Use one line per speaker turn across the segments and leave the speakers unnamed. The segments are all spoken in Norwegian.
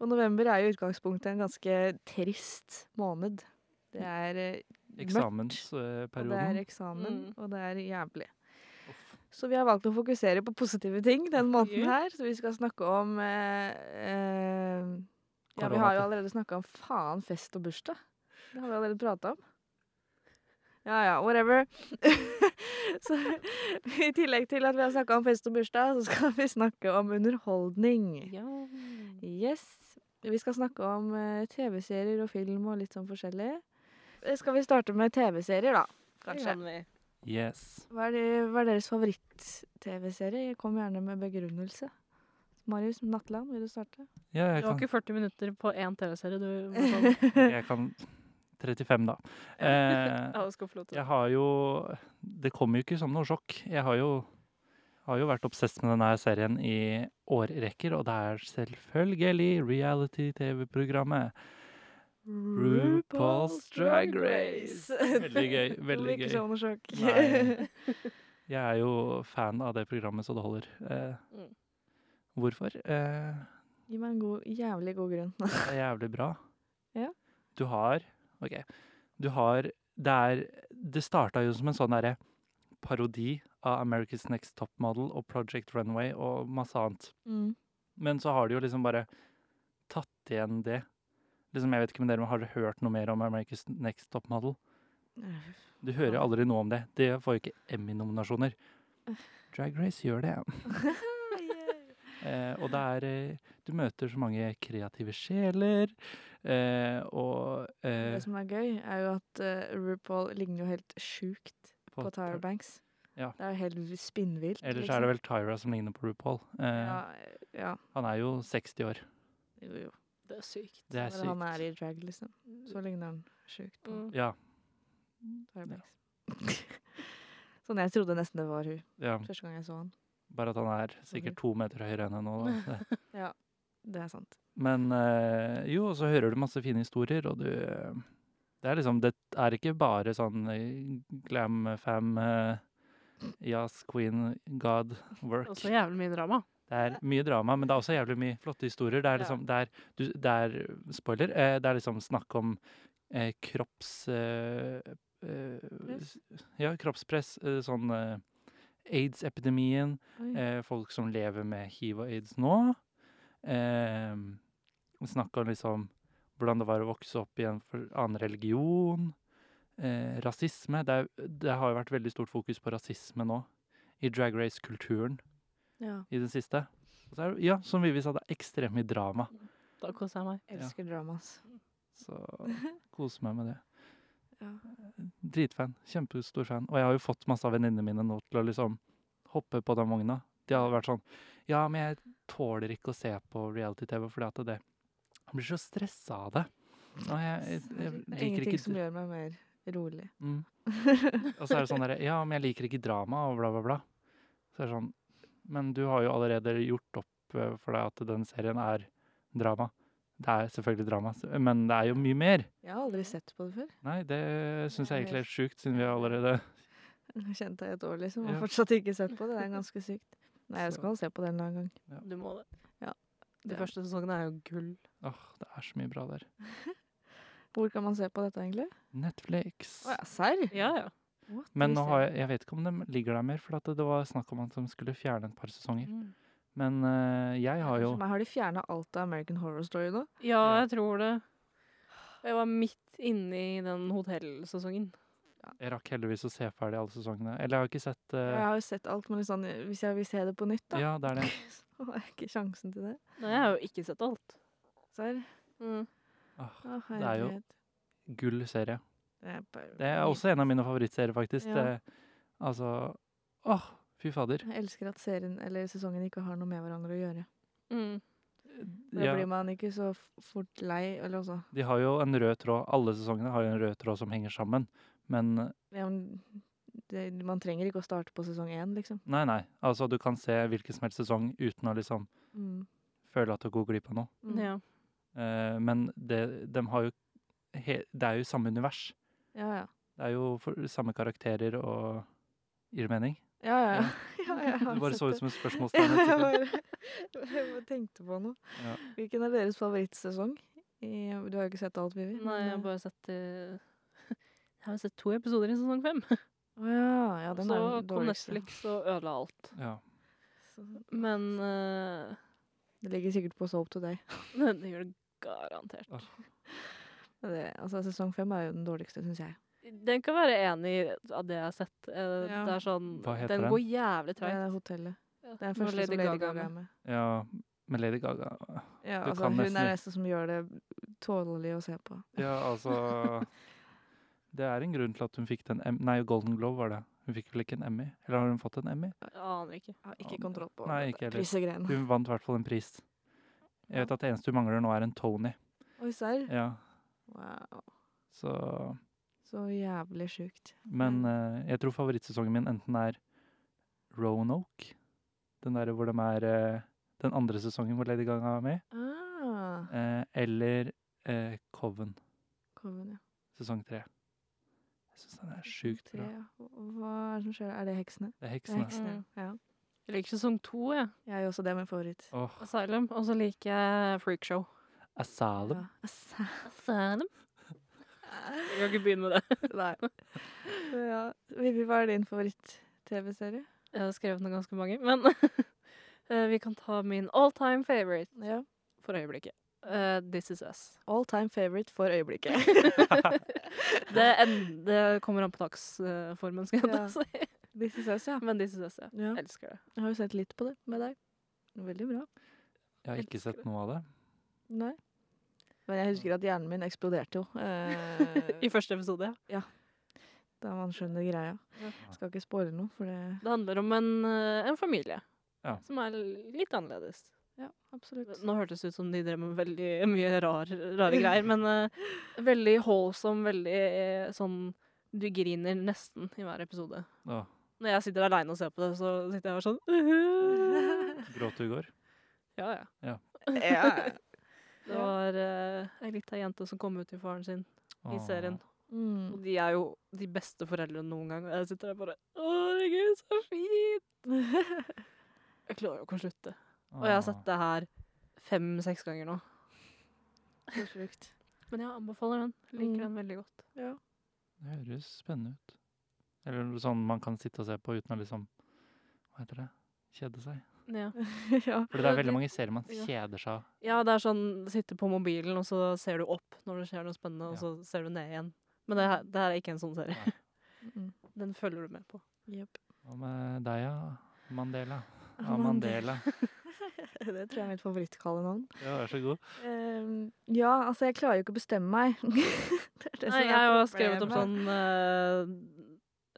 Og november er i utgangspunktet en ganske trist måned. Det er eh, mørkt, og det er
Eksamensperioden.
eksamen,
Mm.
og det er jævlig. Så vi har valgt å fokusere på positive ting den måneden
Ja.
her. Så vi skal snakke om eh, eh, Ja, vi har jo
Koronatid.
allerede snakka om faen, fest og bursdag. Det har vi allerede prata om. Ja ja, whatever. så i tillegg til at vi har snakka om fest og bursdag, så skal vi snakke om underholdning.
Ja.
Yes. Vi skal snakke om eh, TV-serier og film og litt sånn forskjellig. Eh, Skal vi starte med TV-serier, da?
Det
Kanskje.
kan vi.
Yes.
Hva er, det, hva er deres favoritt-TV-serie? Kom gjerne med begrunnelse. Marius Natland, vil du starte?
Ja, jeg
Du har
kan,
ikke 40 minutter på én TV-serie. Du må sånn.
jeg kan 35, da. Eh,
Ja, du skal få lov til det.
jeg har jo Det kom jo ikke som noe sjokk. Jeg har jo, har jo vært obsess med denne her serien i årrekker, og det er selvfølgelig reality-TV-programmet RuPaul's Drag Race. Veldig gøy. Veldig
Ikke
gøy.
sånn sjokk.
Nei. Jeg er jo fan av det programmet, så det holder. Eh,
Mm.
hvorfor? Eh,
Gi meg en god, jævlig god grunn.
det er jævlig bra.
Ja.
Du har OK. Du har Det er Det starta jo som en sånn derre parodi av America's Next Top Model og Project Runway og masse annet. Men så har de jo liksom bare tatt igjen det. Liksom, jeg vet ikke med dere, men Har dere hørt noe mer om America's Next Top Model? Du hører jo aldri noe om det. Det får jo ikke Emmy-nominasjoner. Drag Race gjør det. Eh, og det er eh, Du møter så mange kreative sjeler, eh, og eh,
Det som er gøy, er jo at eh, RuPaul ligner jo helt sjukt på, Tyra Banks.
Ja.
Det er jo helt spinnvilt. liksom.
Ellers er det vel Tyra som ligner på RuPaul. Eh,
ja, ja,
Han er jo 60 år.
jo, jo.
Det er sykt.
Det er
Når han
sykt.
er i drag, liksom. Så ligner han sjukt på
Mm.
Ja,
Tyra
Ja.
Banks. sånn jeg trodde nesten det var hun
ja.
første gang jeg så han.
Bare at han er sikkert to meter høyere enn henne nå. da.
Det er sant.
Men eh, jo, og så hører du masse fine historier, og du eh, Det er liksom Det er ikke bare sånn eh, glam, fam, eh, jazz, queen, god, work.
Også jævlig mye drama.
Det er mye drama, men det er også jævlig mye flotte historier. Det er
Ja.
liksom Det er, du, det er spoiler. Eh, det er liksom snakk om eh, kropps... Eh, eh,
Press?
ja, kroppspress. Eh, sånn eh, aids-epidemien.
Oi.
Eh, folk som lever med hiv og aids nå. Eh, snakk om liksom hvordan det var å vokse opp i en for- annen religion. Eh, rasisme. Det, er, det har jo vært veldig stort fokus på rasisme nå. I drag race-kulturen
Ja.
i det siste. Og så er det, ja, som Vivi sa, det er ekstremt mye drama.
Da koser jeg meg.
Elsker dramas.
Så koser meg med det.
Ja.
Dritfan. Kjempestor fan. Og jeg har jo fått masse av venninnene mine nå til å liksom hoppe på den vogna. De har vært sånn Ja, men jeg tåler ikke å se på reality-TV fordi at det Jeg blir så stressa av det. Og jeg, jeg, jeg
Det er
liker
ingenting
ikke
som gjør meg mer rolig.
Mm. Og så er det sånn derre Ja, men jeg liker ikke drama og bla, bla, bla. Så er det sånn Men du har jo allerede gjort opp eh, for deg at den serien er drama. Det er selvfølgelig drama, s- men det er jo mye mer.
Jeg har aldri sett på det før.
Nei, det syns jeg
Det er
egentlig er sjukt, siden vi allerede
Jeg Kjente jeg et år, liksom. Og
Ja.
fortsatt ikke sett på det. Det er ganske sykt. Nei, jeg
Så-
skal se på det en eller annen gang.
Du må det.
Ja.
De
Det-
første sesongene er jo gull.
Åh, det er så mye bra der.
Hvor kan man se på dette, egentlig?
Netflix.
Å ja, serr?
Ja, ja.
What?
Men nå
Visste
har
jeg
jeg Jeg vet ikke om de ligger der mer, for at det var snakk om at de skulle fjerne et par sesonger.
Mm.
Men eh, jeg har jo
ikke. Men Har de fjerna alt av American Horror Story nå?
Ja,
Ja.
jeg tror det. Jeg var midt inne i den hotellsesongen.
Jeg rakk heldigvis å se ferdig alle sesongene. Eller jeg har ikke sett
Jeg
eh,
har jo sett alt, men liksom, hvis jeg vil se det på nytt, da,
Ja, det er det.
så har jeg ikke sjansen til det.
Nei, jeg har jo ikke sett alt.
Serr?
Mm.
Åh,
Å,
Det er jo-
herlighet.
gull serie.
Det er bare-
Det er også en av mine favorittserier, faktisk.
Ja.
Det, altså Åh, fy fader.
Jeg elsker at serien eller sesongen ikke har noe med hverandre å gjøre.
Mm.
Da
ja,
blir man ikke så f- fort lei. Eller altså, også
de har jo en rød tråd. Alle sesongene har jo en rød tråd som henger sammen. Men
ja, men det, Man trenger ikke å starte på sesong én, liksom.
nei, nei. Altså, du kan se hvilken som helst sesong uten å liksom
Mm.
føle at du går glipp av noe.
Mm.
Ja.
Eh, men det, dem har jo he, Det er jo samme univers.
Ja, ja.
Det er jo for, samme karakterer og Gir det mening?
ja, ja, ja.
Ja.
ja, ja jeg har
Du bare
sett
så
det.
ut som et
Ja,
spørsmålstegn.
jeg
et sekund.
bare, jeg bare tenkte på noe.
Ja.
Hvilken er deres favorittsesong? I, du har jo ikke sett alt, Vivi.
Nei, jeg har
men, eh,
bare sett eh, Jeg har jo sett to episoder i sesong fem.
Å ja, ja,
Og
den
så
er den
kom
dårligste.
Netflix og ødela alt.
Ja.
Så-
Men eh,
Det ligger sikkert på Soap Today.
den gjør det garantert.
Men Det, altså, sesong fem er jo den dårligste, syns jeg.
Den kan være enig i av det jeg har sett. Eh,
Ja.
Det er sånn
Hva heter
Den
den?
går jævlig
Det er
treigt.
hotellet. Det
Ja.
er den
Når
første som Lady Gaga er med.
ja. Men Lady Gaga
Ja,
Du
altså,
kan
hun er den
nesten ikke-
eneste som gjør det tålelig å se på.
Ja, altså Det er en grunn til at hun fikk den Em- Nei, Golden Globe var det. Hun fikk vel ikke en Emmy? Eller har hun fått en Emmy?
Jeg aner ikke.
Jeg har
Ja,
ikke kontroll på
nei,
dette
ikke heller.
prissegreiene.
Hun vant i hvert fall en pris. Jeg vet at det eneste hun mangler nå, er en Tony.
Oi, serr?
Ja,
Wow.
så
Så jævlig sjukt.
Men eh, jeg tror favorittsesongen min enten er Roanoke, den der hvor de er eh, Den andre sesongen hvor Lady Gaga er med,
Ah,
eh, eller eh, Coven,
Coven, ja.
sesong tre. Jeg syns den er sjukt
Tre,
bra.
ja. Hva er det som skjer? Er det heksene?
Det er
Det er
heksene.
heksene, ja.
Jeg liker sesong to, jeg.
Jeg er jo også det min favoritt.
Åh,
Asylum. Og så liker jeg Freakshow.
Asylum.
Ja. Altså,
Asylum? Jeg kan ikke begynne med det.
Nei. Ja. Vivi, hva er din favoritt-TV-serie?
Jeg har skrevet noen ganske mange, men eh, vi kan ta min all time favorite
Ja.
for øyeblikket. Eh, This Is Us.
All time favorite for øyeblikket.
Det, en, det kommer an på dagsformen, skal jeg
Ja.
ta si.
This is us, ja.
Men This Is Us, ja.
ja.
Jeg elsker det.
Jeg har jo sett litt på det med deg. Veldig bra.
Jeg har ikke sett noe av det.
Nei. Men jeg husker at hjernen min eksploderte jo.
I
Eh,
første episode, ja.
da man skjønner greia.
Ja.
Skal ikke spoile noe, for det
Det handler om en, eh, en familie
Ja.
som er litt annerledes.
Ja, absolutt.
Nå hørtes det ut som de drev med veldig mye rar, rare greier, men eh, veldig holdsom, veldig eh, sånn Du griner nesten i hver episode.
Åh,
Når jeg sitter aleine og ser på det, så sitter jeg bare sånn «Uhu».
gråt du i går?
Ja, ja.
Ja.
Det var eh, ei lita jente som kom ut til faren sin i
Åh.
serien. Og
Mm.
de er jo de beste foreldrene noen gang. Og jeg sitter der bare Å, herregud, så fint! Jeg klarer jo ikke å slutte. Og jeg har sett det her fem-seks ganger nå.
Så sjukt.
Men jeg anbefaler den. Liker
Mm.
den veldig godt.
Ja.
Det høres spennende ut. Eller noe sånn man kan sitte og se på uten å liksom Hva heter det? Kjede seg.
Ja.
ja.
For det er
Ja,
veldig
det-
mange serier man
ja.
kjeder seg av.
ja, det er sånn sitte på mobilen, og så ser du opp når det skjer noe spennende, og
Ja.
så ser du ned igjen. Men det her, det her er ikke en sånn serie.
Mm.
Den følger du med på.
Jep.
Hva med deg, ja? Mandela. Ja,
Amandel.
Mandela.
Det tror jeg er mitt favorittkallenavn.
Ja, vær så god.
Um, ja, altså, jeg klarer jo ikke å bestemme meg. det er det
Nei,
som er
jeg har skrevet opp
problemet.
sånn eh,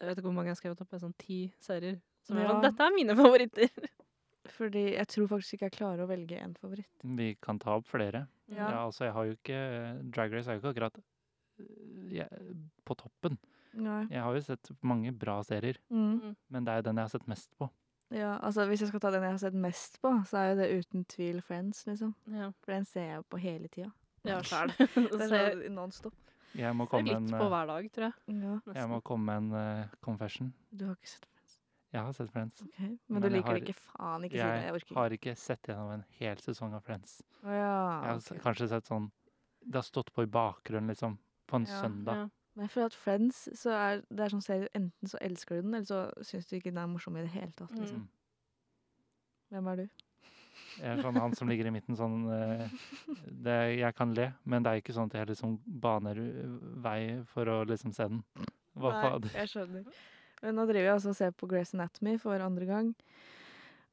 Jeg vet ikke hvor mange jeg har skrevet opp, jeg har sånn ti serier. Som er
Ja.
sånn Dette er mine favoritter! sånn.
Fordi jeg tror faktisk ikke jeg klarer å velge en favoritt.
Vi kan ta opp flere. Ja.
Ja.
altså, jeg har jo ikke Drag Race er jo ikke akkurat eh, jeg, på toppen.
Nei.
Jeg har jo sett mange bra serier,
Mm.
men det er jo den jeg har sett mest på.
Ja, altså Hvis jeg skal ta den jeg har sett mest på, så er jo det uten tvil Friends. liksom.
Ja,
For den ser jeg jo på hele tida.
ja sjæl.
Den
Så jeg
er Nonstop.
Jeg må
ser
komme
litt
med
på
en, eh,
hver dag, tror jeg.
Ja,
jeg
Nesten.
må komme med en eh, confession.
du har ikke sett Friends?
Jeg har sett Friends.
Ok, Men, du
jeg
liker
har-
det ikke? Faen, ikke si det. Jeg
Jeg
orker ikke.
har ikke sett gjennom en hel sesong av Friends.
Å ja,
Jeg har
Ah, ok.
s- kanskje sett sånn Det har stått på i bakgrunnen, liksom. På en
Ja, Mm.
søndag.
Ja.
Men jeg føler at Friends så er, det er sånn serie enten så elsker du den, eller så syns du ikke den er morsom i det hele tatt. liksom.
Mm.
Hvem er du?
Jeg er sånn han som ligger i midten sånn eh, det, Jeg kan le, men det er ikke sånn at jeg liksom baner eh, vei for å liksom se den. Hva fader?
jeg skjønner. Men nå driver jeg altså og ser på Grace Anatomy for andre gang.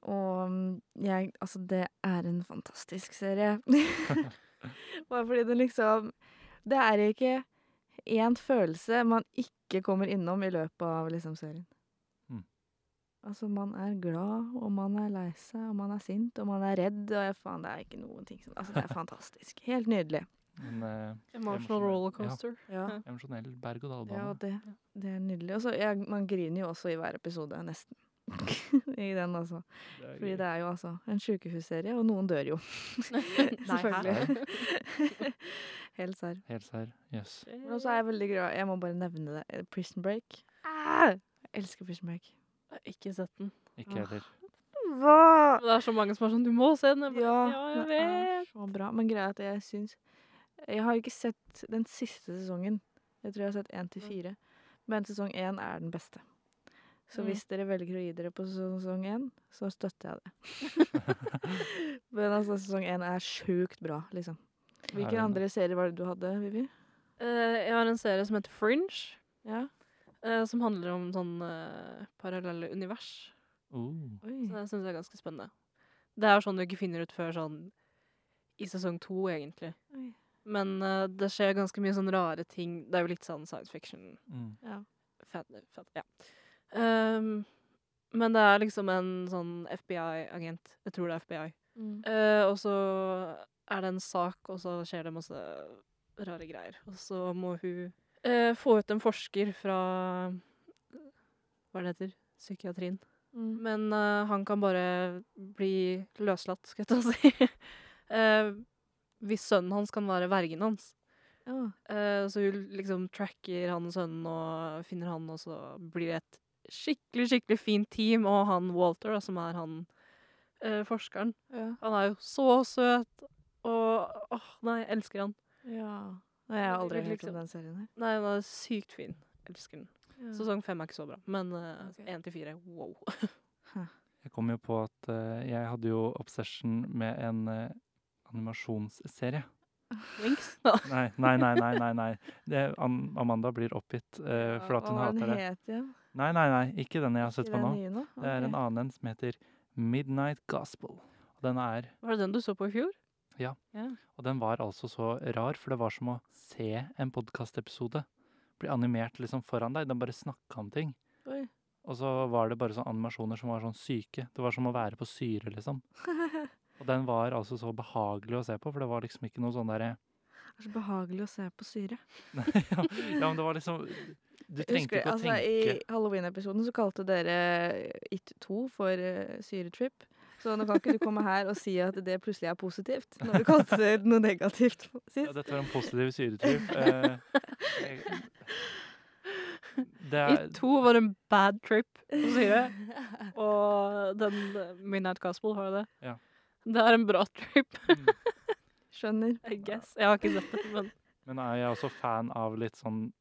Og mm, jeg Altså, det er en fantastisk serie. Bare fordi den liksom Det er ikke én følelse man ikke kommer innom i løpet av liksom serien.
Mm.
Altså, man er glad, og man er lei seg, og man er sint, og man er redd, og jeg, faen, det er ikke noen ting som Altså, det er fantastisk. Helt nydelig.
En eh, Emosjonell,
Emotional rollercoaster.
Ja,
emosjonell berg-og-dal-bane.
ja det, det er nydelig. Og så, jeg- man griner jo også i hver episode, nesten. I den, altså. Fordi det er jo altså en sjukehusserie, og noen dør jo. Selvfølgelig. Helt serr.
Helt serr. Jøss. Yes.
Men også er jeg veldig glad Jeg må bare nevne det. eh, Prison Break. Ah! Jeg elsker Prison Break.
Jeg har ikke sett den.
Ikke
Ah,
jeg heller.
Hva?
Men det er så mange som er sånn Du må se den! Jeg bare,
Ja,
ja, jeg
det er
vet.
så bra. Men greia er at jeg syns Jeg har ikke sett den siste sesongen. Jeg tror jeg har sett én til fire. Men sesong én er den beste. Så
Mm.
hvis dere velger å gi dere på sesong én, så støtter jeg det. Men altså, sesong én er sjukt bra, liksom.
Er det
Hvilke
en-
andre serier var det du hadde, Vivi?
Eh, jeg har en serie som heter Fringe,
Ja.
eh, som handler om sånn eh, parallelle univers.
Oh.
Oi.
Så det syns jeg er ganske spennende. Det er sånn du ikke finner ut før sånn i sesong to, egentlig.
Oi.
Men eh, det skjer ganske mye sånn rare ting. Det er jo litt sånn science fiction.
Mm.
Fan, fan, ja. Ehm, men det er liksom en sånn FBI-agent. Jeg tror det er FBI.
Mm.
Eh, og så er det en sak, og så skjer det masse rare greier. Og så må hun eh, få ut en forsker fra Hva er det heter? Psykiatrien.
Mm.
Men eh, han kan bare bli løslatt, skal jeg ta og si. Eh, hvis sønnen hans kan være vergen hans.
Ja.
Eh, så hun liksom tracker han og sønnen og finner han, og så blir det et skikkelig, skikkelig fint team. Og han Walter, da, som er han eh, forskeren.
Ja.
Han er jo så søt, og åh, nei, jeg elsker han.
ja. Nei, jeg har
Det
aldri
vil
hørt
liksom-
om den serien her.
Nei, han er sykt fin. Elsker den.
Ja.
Sesong fem er ikke så bra, men eh,
Ok.
én til fire, wow.
Jeg kom jo på at eh, jeg hadde jo obsession med en eh, animasjonsserie.
Links. Da.
Nei, nei, nei, nei. nei, nei. Det, Am Amanda blir oppgitt eh, for at hun
Hva var
hater
den
det.
het igjen?
Nei, nei, nei, ikke den jeg har
Ikke
sett på
den
nå.
nye nå?
Det er en
Ok.
annen en som heter Midnight Gospel. Og den er
Var det den du så på i fjor?
Og den var altså så rar, for det var som å se en podkastepisode. Bli animert liksom foran deg. Den bare snakka om ting.
Oi.
Og så var det bare sånne animasjoner som var sånn syke. Det var som å være på syre, liksom. Og den var altså så behagelig å se på, for det var liksom ikke noe sånn derre
Det er så behagelig å se på syre.
ja, ja, men det var liksom Du trengte
Husker
ikke å
altså,
tenke.
I Halloween-episoden så kalte dere eh, It 2 for eh, syretrip. Så nå kan ikke du komme her og si at det plutselig er positivt, når du kalte det noe negativt
Ja,
sist.
dette var en positiv syretur. Eh, jeg- det er, mm,
I to var det en bad trip på Syre. Og den eh, Midnight Gospel, har du det?
Ja.
Det er en bra trip,
Mm.
Skjønner.
I guess. Jeg har ikke sett det, men
Men er jeg også fan av litt sånn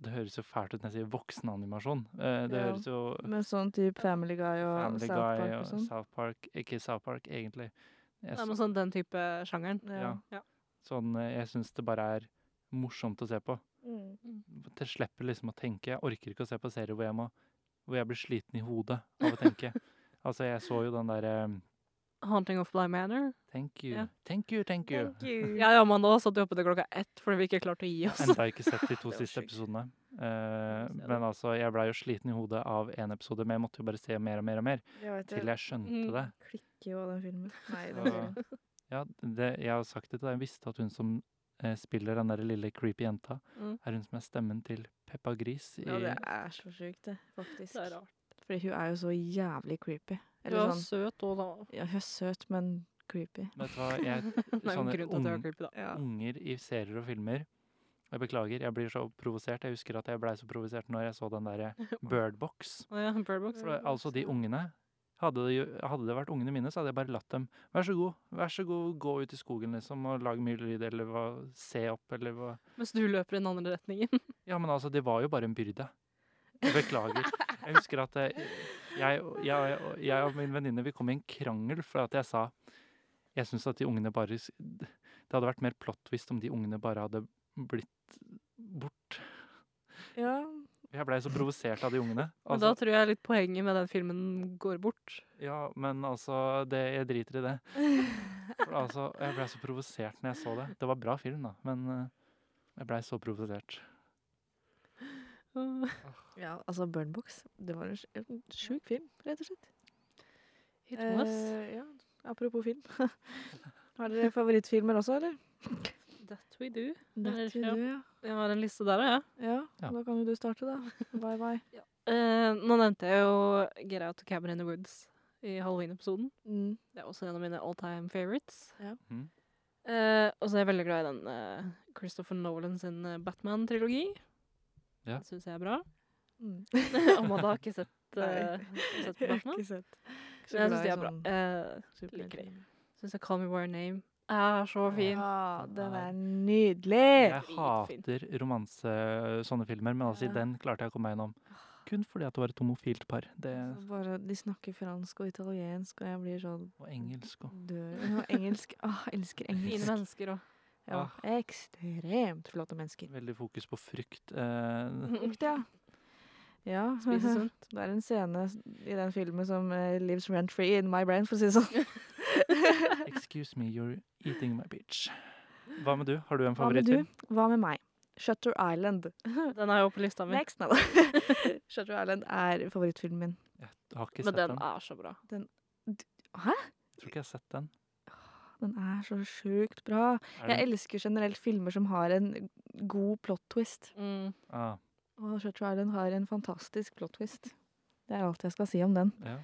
Det høres jo fælt ut når jeg sier voksenanimasjon. Eh, det
Ja.
høres jo
Med sånn type Family Guy og
Family
South Park
Guy
og
og
sånn.
South Park Ikke South Park, egentlig. Jeg,
det er med sånn den type sjangeren.
Ja.
Ja.
s- sånn, eh, jeg syns det bare er morsomt å se på.
Mm.
Det slipper liksom å tenke. Jeg orker ikke å se på serier hvor jeg, må, hvor jeg blir sliten i hodet av å tenke. altså, jeg så jo den derre
Haunting of Bly Manor.
Thank you.
Ja.
Thank you, thank you.
Thank you.
Jeg og Amanda satt jo oppe til klokka ett fordi vi ikke klarte å gi oss.
Enda ikke sett de to
var
siste
sjukt.
episodene. Eh,
se det.
men altså, jeg blei jo sliten i hodet av én episode, men jeg måtte jo bare se mer og mer og mer
Jeg vet
til
det.
jeg skjønte
Mm.
det.
Klikker jo av den filmen. Nei, den
Så-
serien.
Ja, det, jeg har sagt det til deg. Jeg visste at hun som eh, spiller den der lille creepy jenta,
Mm.
er hun som er stemmen til Peppa Gris i
Ja, det er så sjukt, det. Faktisk.
Det er rart.
Fordi hun er jo så jævlig creepy.
Du
Eller
er
sånn
søt òg, da.
Ja, hun er søt, men creepy.
Vet du hva, jeg,
Det er jo en
sånne
grunn til at jeg
Sånn ung-
er creepy, da.
Ja.
unger i serier og filmer Jeg beklager, jeg blir så provosert. Jeg husker at jeg blei så provosert når jeg så den eh, derre Birdbox.
Å ja, Bird Box.
For det, altså, de ungene hadde det, jo- hadde det vært ungene mine, så hadde jeg bare latt dem Vær så god, vær så god, gå ut i skogen, liksom, og lag mye lyd, eller hva, se opp, eller hva
Mens du løper i den andre retningen.
Ja, men altså, det var jo bare en byrde. Jeg beklager. Jeg husker at eh, jeg, jeg, jeg og min venninne vi kom i en krangel for at jeg sa Jeg syns at de ungene bare s- Det hadde vært mer plot twist om de ungene bare hadde blitt bort.
Ja,
Jeg blei så provosert av de ungene. Altså,
Men da tror jeg litt poenget med den filmen går bort.
Ja, men altså det, Jeg driter i det. For altså, Jeg blei så provosert når jeg så det. Det var bra film, da, men eh, jeg blei så provosert.
Ja, altså Burnbox. Det var en sj- en sjuk film, rett og slett.
It was
Eh, ja, apropos film. Har dere favorittfilmer også, eller?
that we do.
That You
ja.
Do, ja.
Jeg har en liste der, ja.
ja.
Ja.
Da kan jo du starte, da. Bye bye.
Eh, nå nevnte jeg jo Get Out of Cabin in the Woods i Halloween-episoden.
Mm.
Det er også en av mine all time favorites.
Ja.
Mhm.
Eh, og så er jeg veldig glad i den eh, Christopher Nolan sin eh, Batman-trilogi.
Ja.
Det syns jeg er bra.
Mm.
Amanda har ikke sett, eh, har sett Batman.
Ikke sett. Ikke så
Men jeg
glad
syns
i
de er bra.
sånn
Eh, liker de.
superheltfilmer.
syns jeg Call Me By Your Name er så fin.
Ja, den
Den er-
er nydelig.
Jeg hater romanse sånne filmer, men altså,
Ja.
den klarte jeg å komme meg gjennom. Kun fordi at det var et homofilt par. Det,
Altså, Bare, de snakker fransk og italiensk, og jeg blir sånn
og engelsk og
dør. Og engelsk. Åh, jeg elsker
Fine
engelsk.
mennesker og
Ja, ekstremt flotte mennesker.
Veldig fokus på frykt. Eh,
Frukt, ja. Ja,
spiser sunt.
det er en scene s- i den filmen som eh, lives rent free in my brain, for å si det sånn.
excuse me, you're eating my bitch. Hva med du? Har du en
Hva med du?
favorittfilm?
Hva med meg? Shutter Island.
Den er jo på lista mi.
Next, nå da. Shutter Island er favorittfilmen min.
Jeg har ikke
Men
sett den.
den er så bra.
Tror ikke jeg har sett den.
Den er så sjukt bra.
Er
Jeg
den?
elsker generelt filmer som har en god plot twist.
Mm.
Ah,
Og Shutter Island har en fantastisk plot twist. Det er alt jeg skal si om den.
ja.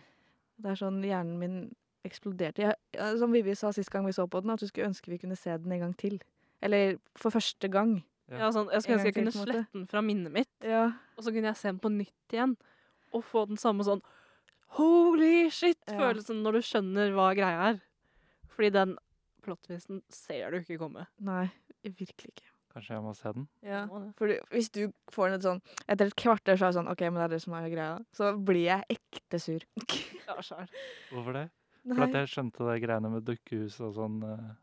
Det er sånn hjernen min eksploderte. Jeg, ja, som Vivi sa sist gang vi så på den, at du skulle ønske vi kunne se den en gang til. Eller for første gang.
Ja.
Ja, sånn, jeg skulle
En
ønske jeg
gang
kunne
til, på en måte.
slette den fra minnet mitt,
Ja.
og så kunne jeg se den på nytt igjen. Og få den samme sånn holy
Ja.
shit-følelsen når du skjønner hva greia er. Fordi den plottvisten ser du ikke komme.
Nei, virkelig ikke.
Kanskje jeg må se den?
Ja.
Må det.
For du, hvis du får en et sånn Etter et kvarter så er det sånn OK, men det er det som er greia. Så blir jeg ekte sur.
Ja, skjær.
Hvorfor det? For at
Nei.
jeg skjønte det greiene med dukkehus og sånn. eh,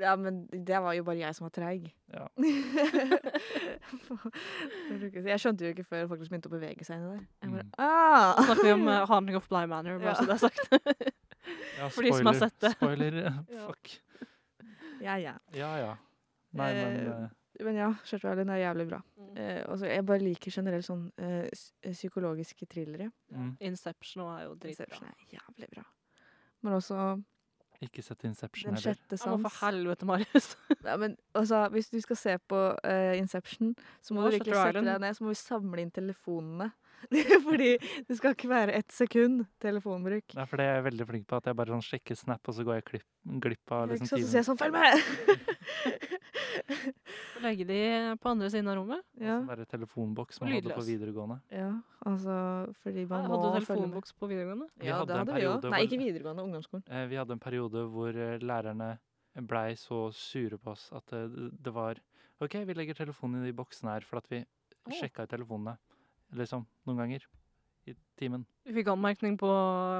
Ja, men det var jo bare jeg som var treig.
Ja.
jeg skjønte jo ikke før folk begynte å bevege seg inni der. Jeg bare,
Mm.
Nå
ah!
snakker vi om eh, Handling of Bly Manor, bare
Ja.
så det er sagt.
Ja,
For de som har
spoiler,
sett det.
Spoiler.
Ja.
Fuck.
Ja, ja.
Ja ja. Nei, men
Eh,
eh,
Men ja, Shutter Island er jævlig bra.
Mm.
Eh, og så jeg bare liker generelt sånn eh, s- psykologiske thrillere.
mm.
Inception også er jo
Inception
dritbra.
er jævlig bra. Men også
Ikke sett Inception
Den
heller.
sjette
Ja,
sans.
men for helvete, Marius.
Nei, men altså, hvis du skal se på eh, Inception, så må
Og
du virkelig
Shutter
sette
Island.
deg ned, så må vi samle inn telefonene. Fordi det skal ikke være ett sekund telefonbruk.
Nei, for det er jeg veldig flink på. At jeg bare sånn sjekker Snap, og så går jeg klipp, glipp av
Ikke
liksom
sant? Så
timen.
sier jeg sånn, følg med!
Legge de på andre siden av rommet.
ja,
Sånn derre telefonboks man hadde på
Lydløs.
videregående.
ja, altså, fordi man
hadde
må
du
følge med.
telefonboks på videregående?
Vi hadde en
vi
periode
også. Nei,
hvor-
ikke videregående, ungdomsskolen.
Eh, Vi hadde en periode hvor eh, lærerne blei så sure på oss at eh, det var OK, vi legger telefonen i de boksene her, for at vi sjekka i telefonene liksom noen ganger i timen.
Vi fikk anmerkning på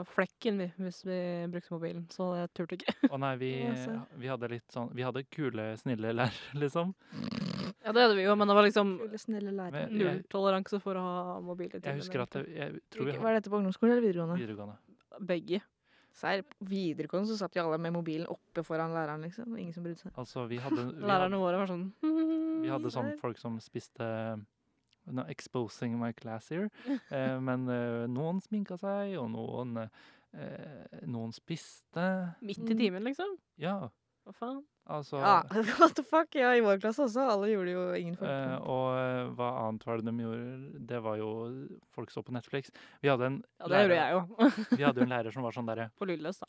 flekken vi, hvis vi brukte mobilen, så jeg turte ikke.
Og nei, vi,
Ja, altså. så-
vi hadde litt sånn Vi hadde kule, snille lærere, liksom.
Ja, det hadde vi jo, men det var liksom
Kule, snille lærere.
Men jeg,
nulltoleranse for å ha mobil i timen.
jeg husker at jeg, jeg tror vi
Hvilke-
hadde
Var dette på ungdomsskolen eller videregående?
videregående.
Begge.
Serr, på videregående så satt jo alle med mobilen oppe foran læreren, liksom. og Ingen som brydde seg.
Altså, vi hadde, vi hadde,
Lærerne våre var sånn
vi hadde sånn
der.
folk som spiste no, Exposing my class here. Eh, men eh, noen sminka seg, og noen eh, Noen spiste.
Midt i timen, liksom.
Ja,
Hva faen?
altså
Ja, what the fuck? Ja, i vår klasse også. Alle gjorde jo ingen
Eh,
forventning.
og eh, hva annet var det de gjorde? Det var jo folk så på Netflix. Vi hadde en,
Ja, det gjorde jeg jo.
vi hadde jo en lærer som var sånn derre
På lydløs, da.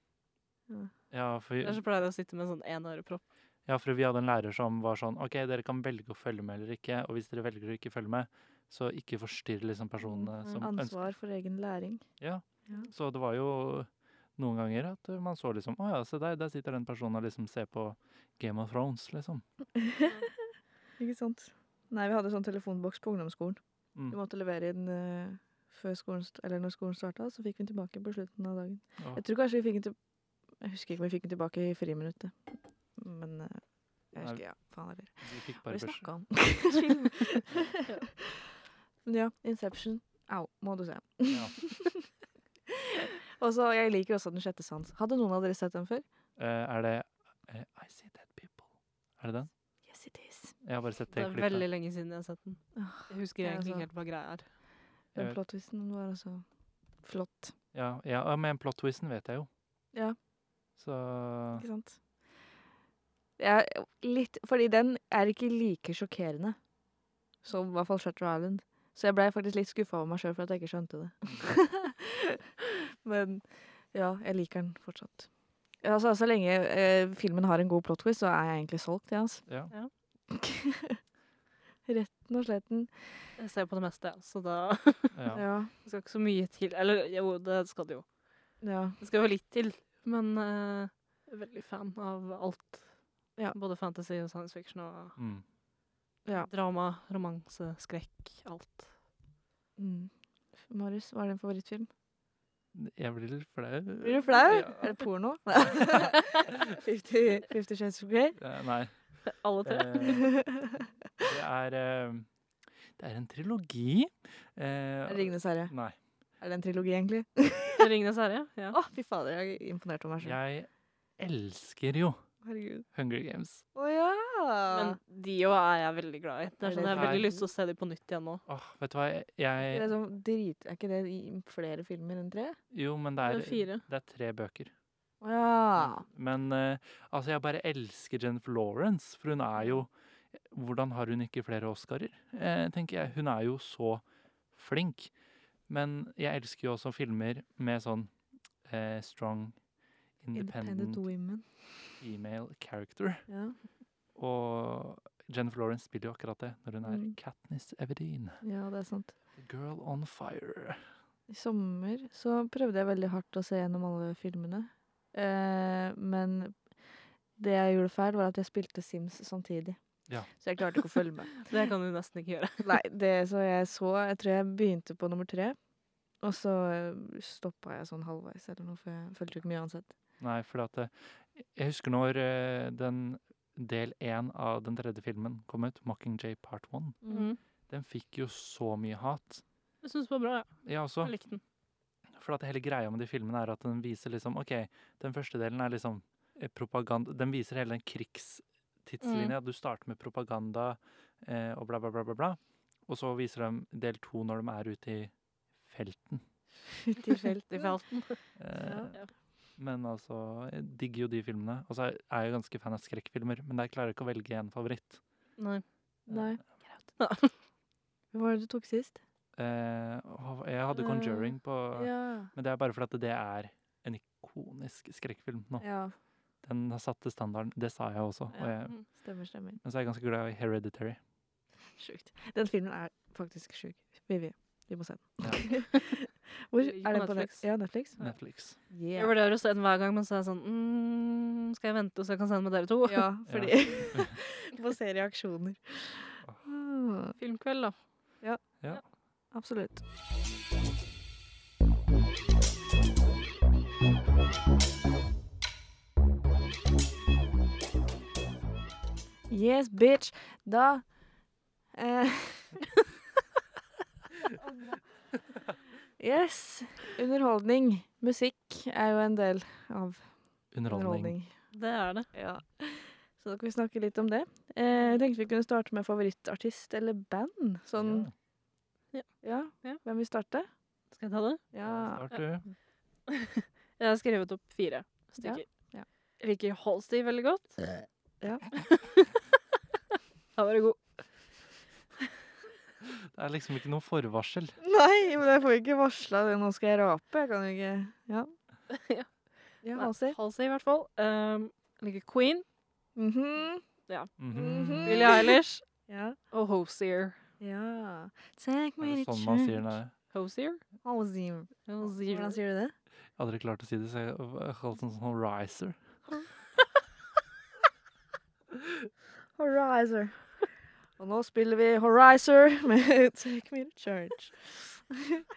ja, for vi-
Ellers så pleier jeg å sitte med en sånn én ørepropp.
ja, for vi hadde en lærer som var sånn OK, dere kan velge å følge med eller ikke. Og hvis dere velger å ikke følge med, så ikke forstyrr liksom personene
Mm,
som ønsker
Ansvar for egen læring.
Så det var jo noen ganger at eh, man så liksom Å ja, se der, der sitter den personen og liksom ser på Game of Thrones, liksom.
Ikke sant? Nei, vi hadde sånn telefonboks på ungdomsskolen.
Mm.
Vi måtte levere inn eh, før skolen st eller når skolen starta, så fikk vi den tilbake på slutten av dagen.
Åh.
Jeg tror kanskje vi fikk den til Jeg husker ikke om vi fikk den tilbake i friminuttet. Men eh, jeg husker ja, faen heller.
Vi fikk
Hva
bare
vi
beskjed.
snakka om? Men ja, Inception. Au, må du se.
Ja.
Og så, Jeg liker også Den sjette sans. Hadde noen av dere sett den før?
Eh, er det eh, I See Dead People? Er det den?
Yes, it is.
Jeg har bare sett
Det
det
er
klippet.
veldig lenge siden jeg har sett den.
Åh,
Jeg husker
jeg
egentlig
også.
ikke helt hva greia er.
Jeg
Den
vet.
plot-twisten var altså flott.
Ja, ja, ja, men plot-twisten vet jeg jo.
Ja.
Så
Ikke sant? Jeg er litt, fordi den er ikke like sjokkerende som i hvert fall Shutter Island. Så jeg blei faktisk litt skuffa over meg sjøl for at jeg ikke skjønte det. Men ja, jeg liker den fortsatt. Ja, Altså, så lenge eh, filmen har en god plot twist, så er jeg egentlig solgt. Ja, altså.
ja.
Retten og sletten.
Jeg ser på det meste, ja, så da
ja.
Ja.
det skal ikke så mye til. Eller jo, det skal det jo.
ja.
Det skal jo litt til. Men eh, jeg er veldig fan av alt.
Ja.
Både fantasy og science fiction og
Mm.
drama, romanse, skrekk, alt.
Mm. Marius, hva er din favorittfilm?
Jeg blir litt flau.
Blir du flau?
Ja.
Er det porno? Fifty Fifty Shades of Grey?
Eh, Nei.
Alle tre.
Eh, Det er eh, Det er en trilogi. Eh,
Ringenes herre.
Nei.
Er det en trilogi, egentlig?
Ringenes herre. Ja.
Å, fy fader, jeg er imponert over meg selv.
Jeg elsker jo
Herregud.
Hunger Games.
Å ja!
Men de òg er jeg veldig glad i. Det er
Er det
sånn Jeg har veldig
feil?
lyst til å se de på nytt igjen nå.
Åh, vet du hva, jeg,
det er,
jeg
sånn drit, er ikke det i flere filmer enn tre?
Jo, men det
Det er
er,
fire.
det er tre bøker.
Å ja.
Men eh, altså, jeg bare elsker Jennifer Lawrence, for hun er jo Hvordan har hun ikke flere Oscarer, eh, tenker jeg. Hun er jo så flink. Men jeg elsker jo også filmer med sånn eh, strong,
Independent
independent
Women.
female character.
Ja.
Og Jennifer Lawrence spiller jo akkurat det når hun er
Mm.
Katniss Everdeen.
ja, det er sant.
The girl on fire.
I sommer så prøvde jeg veldig hardt å se gjennom alle filmene. Eh, men det jeg gjorde feil, var at jeg spilte Sims samtidig.
Ja.
Så jeg klarte ikke å følge med.
Det kan du nesten ikke gjøre.
Nei, det så jeg så Jeg tror jeg begynte på nummer tre. Og så stoppa jeg sånn halvveis eller noe, for jeg fulgte jo ikke med uansett.
Nei, for at eh, Jeg husker når eh, den del én av den tredje filmen kom ut, 'Mockingjay Part 1'.
Mm.
Den fikk jo så mye hat.
Jeg syns det var bra, ja.
Jeg også.
Jeg likte den.
For at hele greia med de filmene er at den viser liksom OK, den første delen er liksom eh, propaganda Den viser hele den krigstidslinja.
Mm.
Du starter med propaganda eh, og bla, bla, bla, bla, bla. Og så viser de del to når de er ute i felten.
Tilfeldig.
Tilfeldig valgt.
Eh,
Ja.
Men altså, jeg digger jo de filmene. Og så er er jeg jo ganske fan av skrekkfilmer, men jeg klarer ikke å velge en favoritt.
Nei.
Nei.
Ja.
Hva var det du tok sist?
Eh, åh, jeg hadde
Eh,
'Conjuring' på
Ja.
Men det er bare fordi at det er en ikonisk skrekkfilm nå.
ja.
Den har satt standarden. Det sa jeg også. Og jeg,
Mm.
Stemmer, stemmer.
men så er jeg ganske glad i Hereditary.
Sjukt. Den filmen er faktisk sjuk. Vivi, vi må se den.
Ja.
Hvor
Ligger på
er den på
Netflix.
Netflix? Ja, Netflix?
Netflix.
Jeg
Yeah.
vurderer å se den hver gang, men så er jeg sånn mm, Skal jeg vente så jeg kan se den med dere to?
Ja, fordi Må se reaksjoner. Ah,
Filmkveld, da.
Absolutt. Yes, bitch. Da eh. Yes. Underholdning. Musikk er jo en del av
Underholdning.
underholdning.
Det er det.
Ja. Så da kan vi snakke litt om det. Eh, jeg tenkte vi kunne starte med favorittartist eller band. Sånn, ja.
Ja.
Hvem vil starte?
Skal jeg ta det?
Ja,
Ja.
Start du.
Jeg har skrevet opp fire stykker.
ja.
Jeg liker Halsey veldig godt.
Ja.
Da var det god.
Det er liksom ikke noe forvarsel.
Nei, men jeg får ikke varsla det. Nå skal jeg rape. Jeg kan jo ikke Ja.
Ja.
Ja,
Nei,
Halser.
Halsey, i hvert fall. Um, jeg liker Queen.
Mhm.
Mhm.
Mhm.
Billie Eilish.
Ja.
Og Hosier.
ja. Take
Er
me
det
to
sånn man sier
church.
det?
Hosier?
Halser.
Hosier.
Hvordan sier du det?
Jeg hadde ikke klart å si det, så jeg har kalt den sånn riser.
Horizer. Og nå spiller vi Horizer med Take me to church.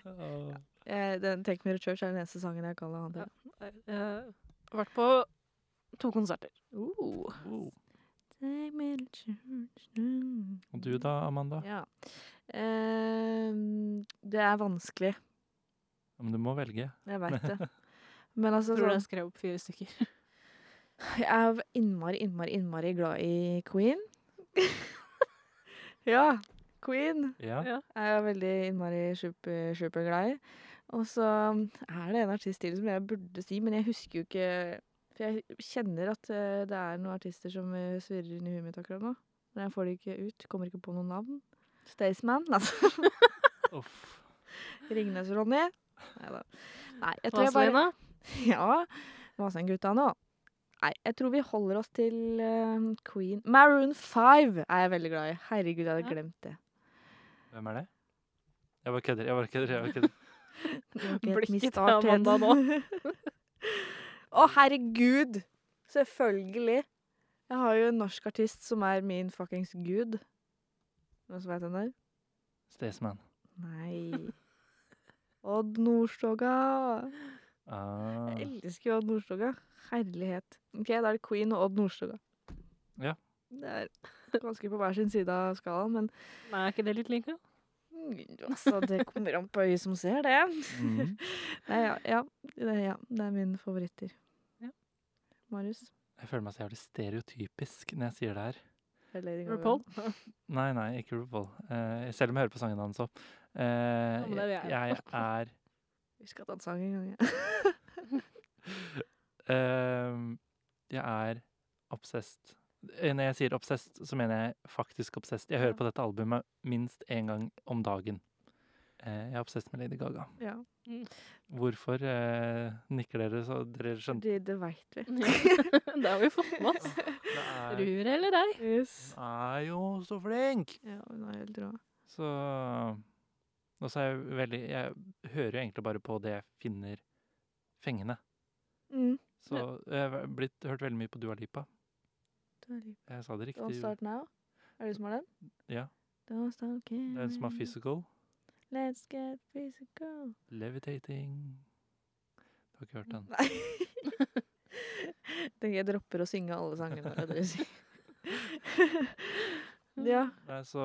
Åh.
Eh, Den Take me to church er den eneste sangen jeg kan la han til.
Jeg har Eh, vært på to konserter.
Oh.
Wow.
Take me to church. Mm.
Og du da, Amanda?
Ja. Ehm, det er vanskelig.
Ja, Men du må velge.
Jeg veit det. Men altså
Tror
sånn-
jeg skrev opp fire stykker.
Jeg er innmari, innmari, innmari glad i Queen. Ja. Queen
Ja.
Ja.
er jeg veldig innmari super, superglad i. Og så er det en artist til som jeg burde si, men jeg husker jo ikke For jeg kjenner at eh, det er noen artister som eh, svirrer inn i huet mitt akkurat nå. Men jeg får det ikke ut. Kommer ikke på noen navn. Staysman. Altså.
Uff.
Ringnes-Ronny. Nei da. Nei, jeg tror jeg bare
Vazelina?
Ja. Vasenggutta nå. Nei, jeg tror vi holder oss til eh, Queen. Maroon 5 er jeg veldig glad i. Herregud, jeg hadde
Ja.
glemt det.
Hvem er det? Jeg bare kødder. jeg bare kødder, jeg bare kødder.
Det var ikke helt
Blikket til
misartet.
Amanda
Å, herregud! Selvfølgelig. Jeg har jo en norsk artist som er min fuckings gud. Noen som veit hvem det er?
Staysman.
Nei. Odd Nordstoga.
Ah.
Jeg elsker jo Odd Nordstoga. Herlighet. Ok, Da er det Queen og Odd Nordstoga.
Ja.
Det er ganske på hver sin side av skalaen, men
Nei, er ikke det litt like?
mm, altså, det kommer an på øyet som ser, det.
Mhm.
Nei, ja, ja, det, ja, det er mine favoritter.
Ja.
Marius?
Jeg føler meg så jævlig stereotypisk når jeg sier det her.
Eller Lady Gaga.
RuPaul?
Nei, nei, ikke RuPaul. Eh, selv om jeg hører på sangene hans òg.
men det gjør jeg.
jeg er
Vi skal ta en sang en gang. Ja.
Ehm, jeg er obsessed. Eh, Når jeg sier obsessed, så mener jeg faktisk obsessed. Jeg hører på dette albumet minst én gang om dagen. Eh, jeg er obsessed med Lady Gaga.
ja.
Hvorfor eh, nikker dere så dere skjønte?
Det, det veit vi.
det har vi fått med oss.
Det er, hun
Rur eller ei?
Yes.
er jo så flink!
Ja, hun er helt rå.
Så Og så er jeg veldig Jeg hører jo egentlig bare på det jeg finner fengende.
Mm.
Så jeg har blitt, hørt veldig mye på Dua Lipa. Jeg sa det
Don't
riktig.
start now. Er det du som har den?
Ja.
Don't start caring.
Den som har physical.
Let's get physical.
Levitating. Du har ikke hørt den?
Nei. Tenker jeg dropper å synge alle sangene bare dere synger. ja.
Nei, så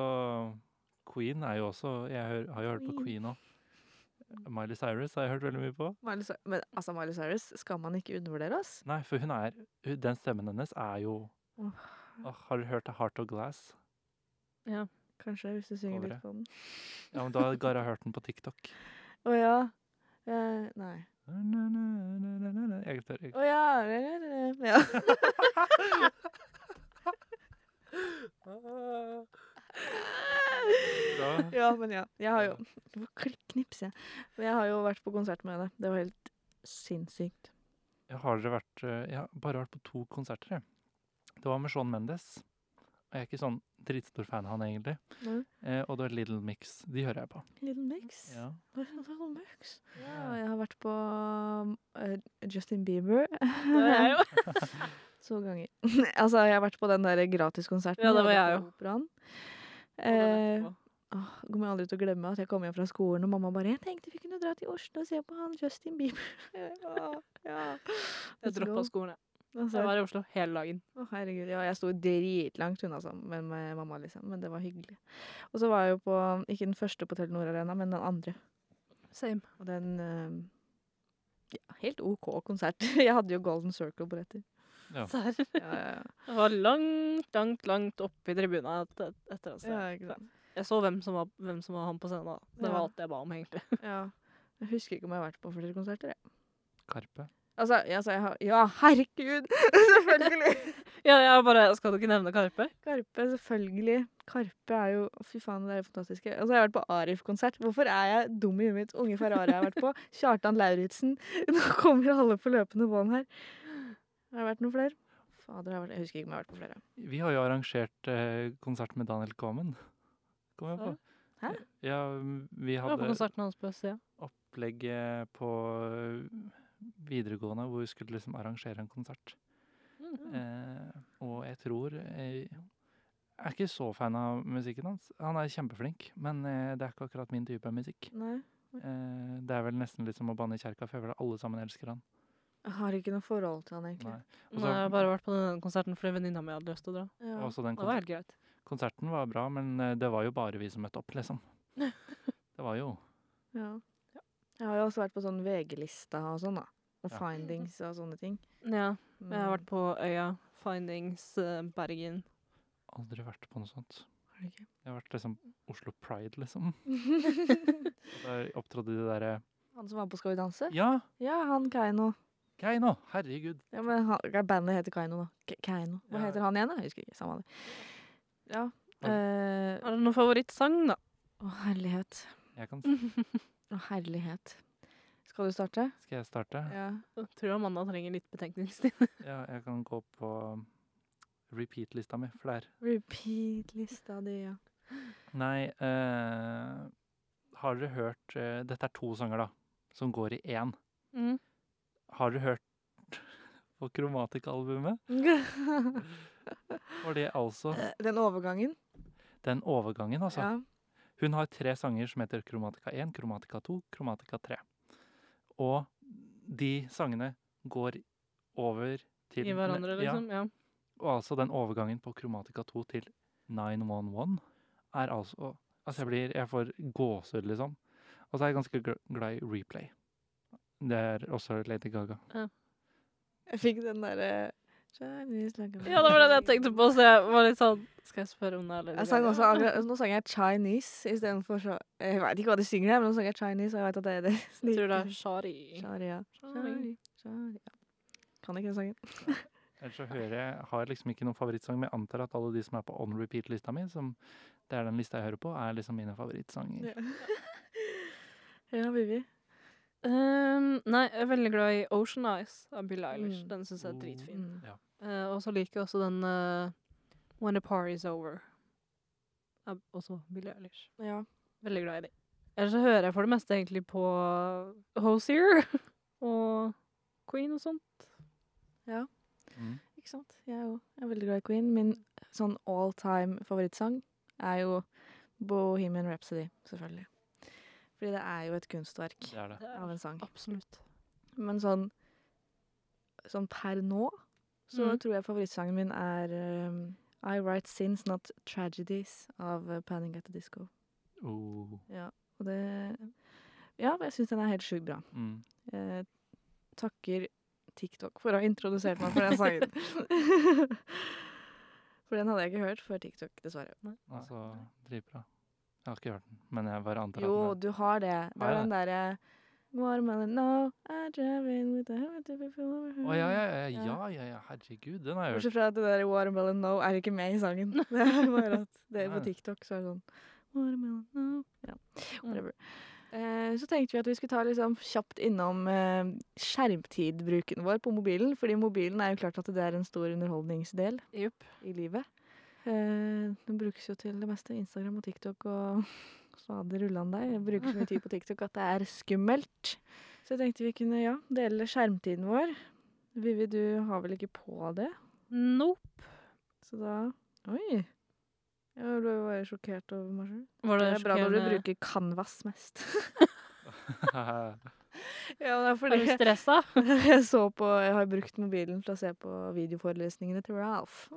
Queen er jo også Jeg hører, har jo hørt på Queen òg. Miley Cyrus har jeg hørt veldig mye på.
Miley Cy- Men altså, Miley Cyrus skal man ikke undervurdere, ass.
Nei, for hun er hun- Den stemmen hennes er jo
Åh.
Åh, Har du hørt A Heart of Glass?
Kanskje hvis du synger litt
Coveret.
på den.
Ja, men da har Gara hørt den på TikTok.
Å ja. Eh, nei.
Jeg tør ikke.
Å ja. ja.
Bra.
Ja, men ja. Jeg har jo Hvor klikk knipser jeg? Men jeg har jo vært på konsert med henne. Det var helt sinnssykt.
Jeg har aldri vært eh, Jeg har bare vært på to konserter, jeg. Det var med Sean Mendes. Og jeg er ikke sånn dritstor fan av han, egentlig.
Nei.
Eh, og det var Little Mix. De hører jeg på.
Little Mix.
Ja.
Little Mix. Ja, og jeg har vært på um, eh, Justin Bieber
Det er jo
to ganger. altså, jeg har vært på den der gratiskonserten.
Ja, det var
hadde
jeg
på Operaen.
den
Eh, åh, kommer jeg aldri til å glemme at jeg kom hjem fra skolen, og mamma bare 'Jeg tenkte vi kunne dra til Oslo og se på han Justin Bieber'. Jeg bare, «Å, ja.
Jeg droppa skolen. jeg.
Altså,
Jeg var i Oslo hele dagen.
Å, herregud. Ja, jeg sto dritlangt unna sammen med, med mamma, liksom. Men det var hyggelig. Og så var jeg jo på, ikke den første på Telenor Arena, men den andre.
Same.
Og den eh, ja, helt OK konsert. Jeg hadde jo Golden Circle-billetter.
Ja.
Serr.
Ja, ja, ja.
Jeg var langt, langt, langt oppe i tribuna et, et, etter oss.
ja, ikke sant.
Jeg så hvem som, var, hvem som var han på scenen. da. Det
Ja.
var alt jeg ba om, egentlig.
Ja. Jeg husker ikke om jeg har vært på flere konserter, jeg.
Karpe.
Altså, ja, altså, jeg har Ja, herregud! selvfølgelig!
Ja, jeg bare, Skal du ikke nevne Karpe?
Karpe, selvfølgelig. Karpe er jo Fy faen, det er jo fantastiske. Og så har jeg vært på Arif-konsert. Hvorfor er jeg dum i huet mitt? Unge Ferrari har jeg vært på. Kjartan Lauritzen. Nå kommer jo alle på løpende bånd her. Har det vært noen flere? Fader, jeg, har vært, jeg husker ikke om jeg har vært på flere.
Vi har jo arrangert eh, konsert med Daniel Kvammen. Kom jeg på.
Hæ?
Ja, vi
Jeg var på
hadde
konserten hans på Østsida.
opplegget på eh, videregående hvor vi skulle liksom arrangere en konsert.
Mm.
Eh, og jeg tror eh, Jeg er ikke så fan av musikken hans. Han er kjempeflink, men eh, det er ikke akkurat min type musikk.
Nei.
Eh, det er vel nesten litt som å banne i kjerka, for jeg føler alle sammen elsker han.
Jeg har ikke noe forhold til han, egentlig.
Nei. Og
Men
så-
jeg har bare vært på den konserten fordi venninna mi hadde lyst til å dra.
Ja.
Også den
Det var
konser
helt greit.
konserten var bra, men eh, det var jo bare vi som møtte opp, liksom. Det var jo
Ja. Jeg har jo også vært på sånn VG-lista og sånn, da. Og
Ja.
findings og sånne ting.
Ja,
Men
jeg har vært på Øya, Findings, eh, Bergen.
aldri vært på noe sånt.
har Er det ikke?
Det har vært liksom Oslo Pride, liksom. Der opptrådte de derre
Han som var på Skal vi danse?
Ja,
Ja, han Keiino.
Keiino! Herregud.
Ja, men han, ja, bandet heter Keiino, da. Ke- Keiino. Hva
Ja.
heter han igjen, da? Jeg husker ikke. Samme det. Ja.
Han-
eh,
Er det noen favorittsang, da?
Å, herlighet.
Jeg kan,
Å, herlighet. Skal du starte?
skal jeg starte?
Ja.
Jeg tror Amanda trenger litt betenkningstid.
Ja, jeg kan gå på repeat-lista mi, for det er
Repeat-lista di, ja.
Nei, eh, har dere hørt eh, Dette er to sanger, da, som går i én.
Mm.
Har dere hørt på Kromatikk-albumet? Var det altså
Eh.
Den overgangen.
den overgangen, altså?
Ja.
Hun har tre sanger som heter Kromatika 1, Kromatika 2, Kromatika 3. Og de sangene går over til
I hverandre,
Ja,
liksom. Ja.
og altså den overgangen på Kromatika 2 til 911 er altså Altså, jeg blir Jeg får gåsehud, liksom. Og så er jeg ganske gl- glad i replay. Det er også Lady Gaga.
Jeg fikk den derre Chinese like a-
ja, det var det jeg tenkte på, så jeg var litt sånn Skal jeg spørre om det er Lady
Jeg sang
Gaga?
også akkurat, Nå sang jeg Chinese istedenfor så Jeg veit ikke hva de synger her, men nå sang jeg Chinese, og jeg veit at det er det.
Jeg tror det er Shari.
Sharia.
Shari.
Sharia. Kan ikke den sangen.
Ellers så hører jeg Har jeg liksom ikke noen favorittsang, men jeg antar at alle de som er på on repeat-lista mi, som det er den lista jeg hører på, er liksom mine favorittsanger.
Ja. Ja, Vivi.
Um, nei, jeg er veldig glad i Ocean Eyes av Bill Eilish.
Mm.
Den syns jeg er dritfin.
Mm.
Eh, og så liker jeg også den eh, When the Party's Over. Av også Bill Eilish.
Ja.
Veldig glad i de. Ellers så hører jeg for det meste egentlig på Hosier og Queen og sånt.
Mm.
Ikke sant? Jeg er jo jeg er veldig glad i Queen. Min sånn all time favorittsang er jo Bohemian Rhapsody, selvfølgelig. Fordi det er jo et kunstverk
Det er det.
Det er
av en sang.
Absolutt.
Men sånn, sånn per nå, så
Mm.
tror jeg favorittsangen min er um, I Write Sins Not Tragedies av uh, Panic at the Disco.
Oh.
Og det Ja, jeg syns den er helt sjukt bra.
Mm.
Jeg Eh, takker TikTok for å ha introdusert meg for den sangen. for den hadde jeg ikke hørt før TikTok, dessverre.
Altså, dritbra. Jeg har ikke hørt den, men jeg bare antar at den
Jo,
er
du har det. Det
Har
er
jeg
den derre Watermelon, no, I drive in with a habit to be full of
Å
her.
ja, ja, ja, ja, ja, ja, herregud, den har jeg hørt.
Bortsett fra at det der Watermelon No er ikke med i sangen. Det er bare at det er på
Nei.
TikTok, så er det sånn Watermelon No. Ja,
Mm.
whatever. Eh, så tenkte vi at vi skulle ta liksom kjapt innom eh, skjermtidbruken vår på mobilen. Fordi mobilen er jo klart at det er en stor underholdningsdel
Jupp.
i livet. Eh, den brukes jo til det meste. Instagram og TikTok og stadig rullende der. Jeg bruker så mye tid på TikTok at det er skummelt. Så jeg tenkte vi kunne ja, dele skjermtiden vår. Vivi, du har vel ikke på det?
Nope.
Så da Oi! Jeg ble bare sjokkert over meg sjøl.
Var
Det
det,
er eh. bra når du
sjokkerende?
bruker canvas mest. ja, men det er
Er du stressa?
jeg så på Jeg har brukt mobilen til å se på videoforelesningene til Ralph.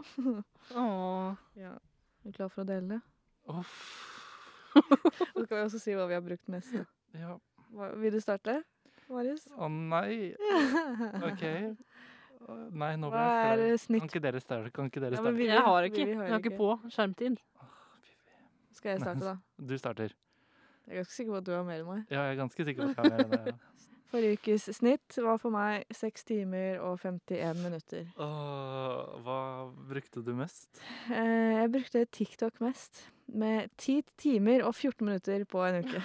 Åh.
Ja. Er du klar for å dele det?
Uff.
Og så kan vi også si hva vi har brukt mest. da.
Ja.
Hva, vil du starte, Marius?
Å nei. OK. Å, Nei, nå ble
Hva
jeg
er
flau.
eh,
Kan
snitt?
ikke dere starte? Kan ikke dere
Ja, men
starte?
vi-
Jeg har ikke.
Vivi
Jeg
har
har
ikke.
ikke på skjermtid.
Skal jeg starte, da?
Du starter.
Jeg er ganske sikker på at du har mer enn meg.
Ja, jeg er ganske sikker på at jeg er mer enn det.
Forrige ukes snitt var for meg 6 timer og 51 minutter.
Åh, hva brukte du mest?
Eh, Jeg brukte TikTok mest, med 10 timer og 14 minutter på en uke.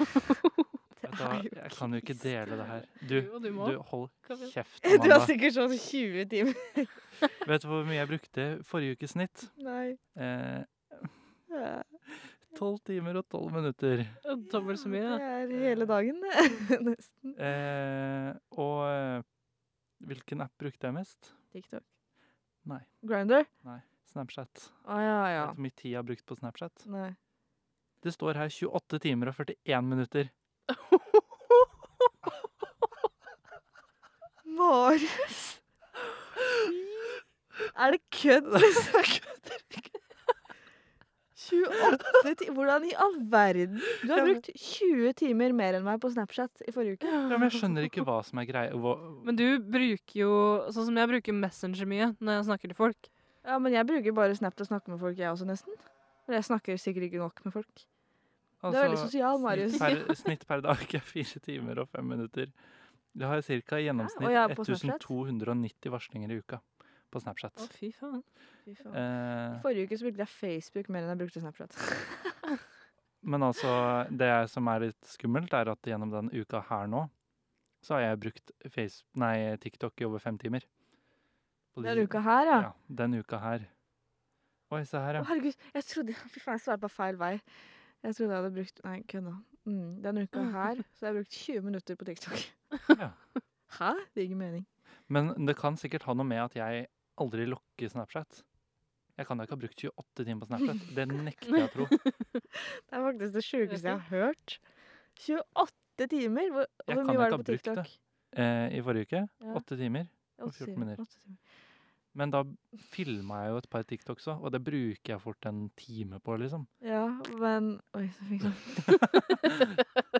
Vet du hva, jeg kan jo ikke dele det her. Du,
Jo, du må.
du hold
Kom igjen.
kjeft,
Du har
Amanda.
sikkert sånn 20 timer.
Vet du hvor mye jeg brukte forrige ukes snitt?
Nei.
Eh, 12 timer og 12 minutter.
Dobbelt så mye. da.
Det er hele dagen, det. Nesten.
Eh, og eh, hvilken app brukte jeg mest?
TikTok.
Nei.
Grinder?
Snapchat.
Å ja, ja.
Vet du hvor mye tid jeg har brukt på Snapchat?
Nei.
Det står her 28 timer og 41 minutter.
Marius! Er det kødd? Kødder ikke. 28 timer Hvordan i all verden? Du har
Ja, men-
brukt 20 timer mer enn meg på Snapchat i forrige uke.
Ja, men jeg skjønner ikke hva som er greia. hva-
Men du bruker jo Sånn som jeg bruker Messenger mye når jeg snakker til folk.
Ja, men jeg bruker bare Snap til å snakke med folk, jeg også, nesten. For jeg snakker sikkert ikke nok med folk. Du er veldig sosial, Marius.
altså, Snitt per, snitt per dag er fire timer og fem minutter. Jeg har ca. i
og jeg er
gjennomsnitt
på Snapchat.
1290 varslinger i uka på
Å,
Snapchat.
fy faen. Fy faen.
Eh,
Forrige uke så brukte jeg Facebook mer enn jeg brukte Snapchat.
men altså, det som er litt skummelt, er at gjennom den uka her nå, så har jeg brukt face, nei, TikTok i over fem timer. På de-
Denne uka her, ja.
Ja, den uka her. Oi, se
Å,
her, ja.
herregud, jeg trodde Fy faen, jeg svarte på feil vei. Jeg trodde jeg hadde brukt Nei, kødda. Mm, denne uka her så har jeg brukt 20 minutter på TikTok.
Ja.
Hæ? Det gir ikke mening.
Men det kan sikkert ha noe med at jeg aldri lukker Snapchat. Jeg kan da ikke ha brukt 28 timer på Snapchat. Det nekter jeg å tro.
Det er faktisk det sjukeste jeg har hørt. 28 timer? Hvor,
Jeg
hvor
kan
mye var
ikke
det på
ha brukt
TikTok?
Eh, I forrige uke,
Ja.
8 timer.
Åtte
og 14
timer,
minutter.
åtte timer.
Men da filma jeg jo et par TikToks òg, og det bruker jeg fort en time på, liksom.
Ja, men Oi, så fikk jeg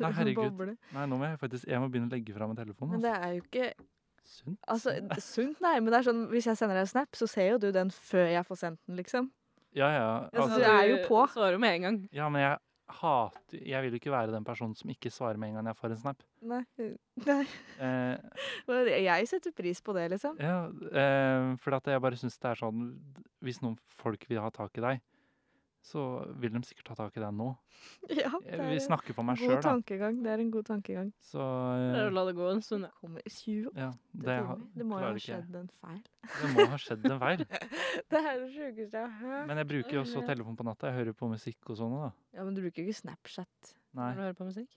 Nei,
en
herregud.
boble.
Nei, nå må jeg faktisk jeg må begynne å legge fra meg telefonen.
Men
Altså.
det er jo ikke
Sunt.
Altså, sunt, nei, men det er sånn hvis jeg sender deg en snap, så ser jo du den før jeg får sendt den, liksom.
Ja, ja.
Jeg synes
Altså,
du er jo på.
Svarer med en gang.
ja, men jeg hater Jeg vil jo ikke være den personen som ikke svarer med en gang jeg får en snap.
Nei. nei.
Eh,
Men Jeg setter pris på det, liksom.
ja, eh, for at jeg bare syns det er sånn Hvis noen folk vil ha tak i deg, så vil de sikkert ta tak i deg nå.
Ja, det
Jeg, Eh, vi
er en
snakker for meg sjøl,
god
da.
tankegang. Det er en god tankegang.
Så
Prøver å
eh,
la det gå en stund. ja.
Kommer 28
ja, det, ha-
timer. Det må jo
klarer
ha
ikke jeg.
skjedd en feil.
Det må ha skjedd en feil.
Det er det sjukeste jeg har hørt.
Men jeg bruker jo også telefon på natta. Jeg hører jo på musikk og sånn òg, da.
Ja, men du bruker ikke Snapchat
Nei.
Når du hører på musikk.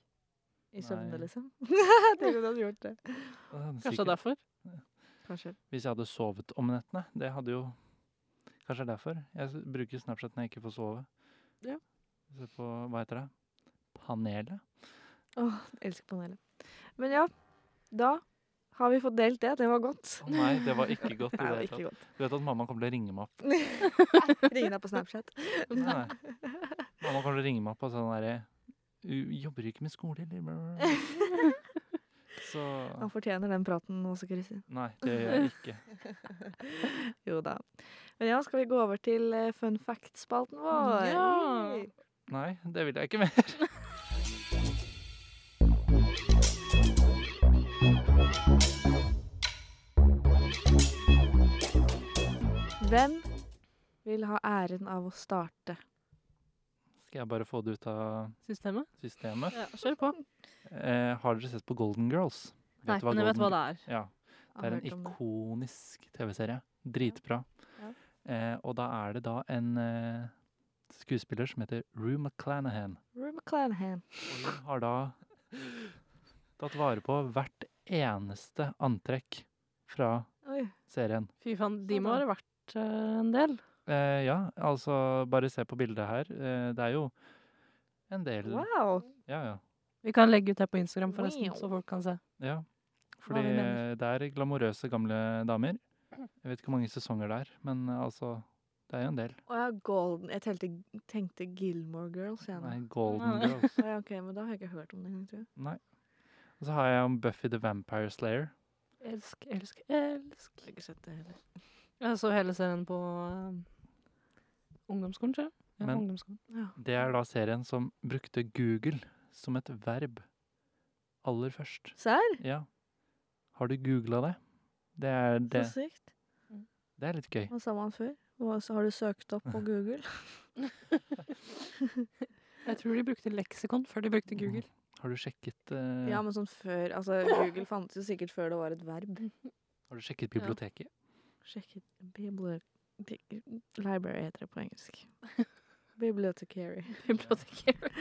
i søvne,
Nei.
liksom? Tenk om du hadde gjort det.
Kanskje
Sikkert.
derfor.
Kanskje.
Hvis jeg hadde sovet om nettene. Det hadde jo Kanskje det er derfor. Jeg s- bruker Snapchat når jeg ikke får sove.
Ja.
Se på Hva heter det? Panelet?
Åh, jeg elsker panelet. Men ja, da har vi fått delt det. Det var godt.
Å nei, det var ikke godt. i
Nei, det var
det hele tatt.
ikke godt.
Du vet at mamma kommer til å ringe meg opp?
Ring deg på Snapchat.
Nei. Mamma kommer til å ringe meg opp og sånn derre «U- Jobber du ikke med skole, eller? Blah, blah, blah». Så
Han fortjener den praten også, Kristin.
Nei, det gjør jeg ikke.
Jo da. Men ja, skal vi gå over til eh, fun fact-spalten vår?
Ja.
Yay.
Nei, det vil jeg ikke mer.
Hvem vil ha æren av å starte?
Skal jeg bare få det ut av
Systemet.
systemet?
Ja, kjør på.
Eh, har dere sett på Golden Girls?
Nei, men jeg vet hva det er.
Ja, det er en
Har hørt om
ikonisk TV-serie. Dritbra.
Ja.
Eh, og da er det da en eh, skuespiller som heter Rue McClanahan.
Rue McClanahan.
Og hun har da tatt vare på hvert eneste antrekk fra
Oi.
serien.
Fy faen, de
Sånn,
må
ja.
ha vært eh, en del.
Eh, ja, altså bare se på bildet her. Eh, det er jo en del
Wow.
Ja, ja.
Vi kan legge ut det på Instagram, forresten,
Wow.
så folk kan se.
ja.
Hva
Fordi eh,
vi mener.
det er glamorøse gamle damer. Jeg vet ikke hvor mange sesonger det er, men eh, altså Det er jo en del.
Og jeg har golden Jeg tenkte, tenkte Gilmore Girls. Jeg, nå.
Nei, Golden
Nei.
Girls.
Å ja, ok, men da har jeg ikke hørt om det engang, tror jeg.
Og så har jeg om Buffy the Vampire Slayer.
Elsk, elsk, elsk.
Jeg har ikke sett det heller.
Jeg så hele serien på eh, ungdomsskolen, tror jeg. Ja,
Men-
ungdomsskolen.
Det er da serien som brukte Google som et verb aller først.
Serr?
Ja. Har du googla det? Det er,
Så
det,
sykt.
det er litt gøy.
Hva sa man før? Hva- Så har du søkt opp på Google?
Jeg tror de brukte leksikon før de brukte Google.
Har du sjekket, eh,
Ja, men sånn før Altså, Google fantes jo sikkert før det var et verb.
Mm. har du sjekket biblioteket?
Sjekket bibli- bi- Library heter det på engelsk. Bibliotekary.
Biblioteker.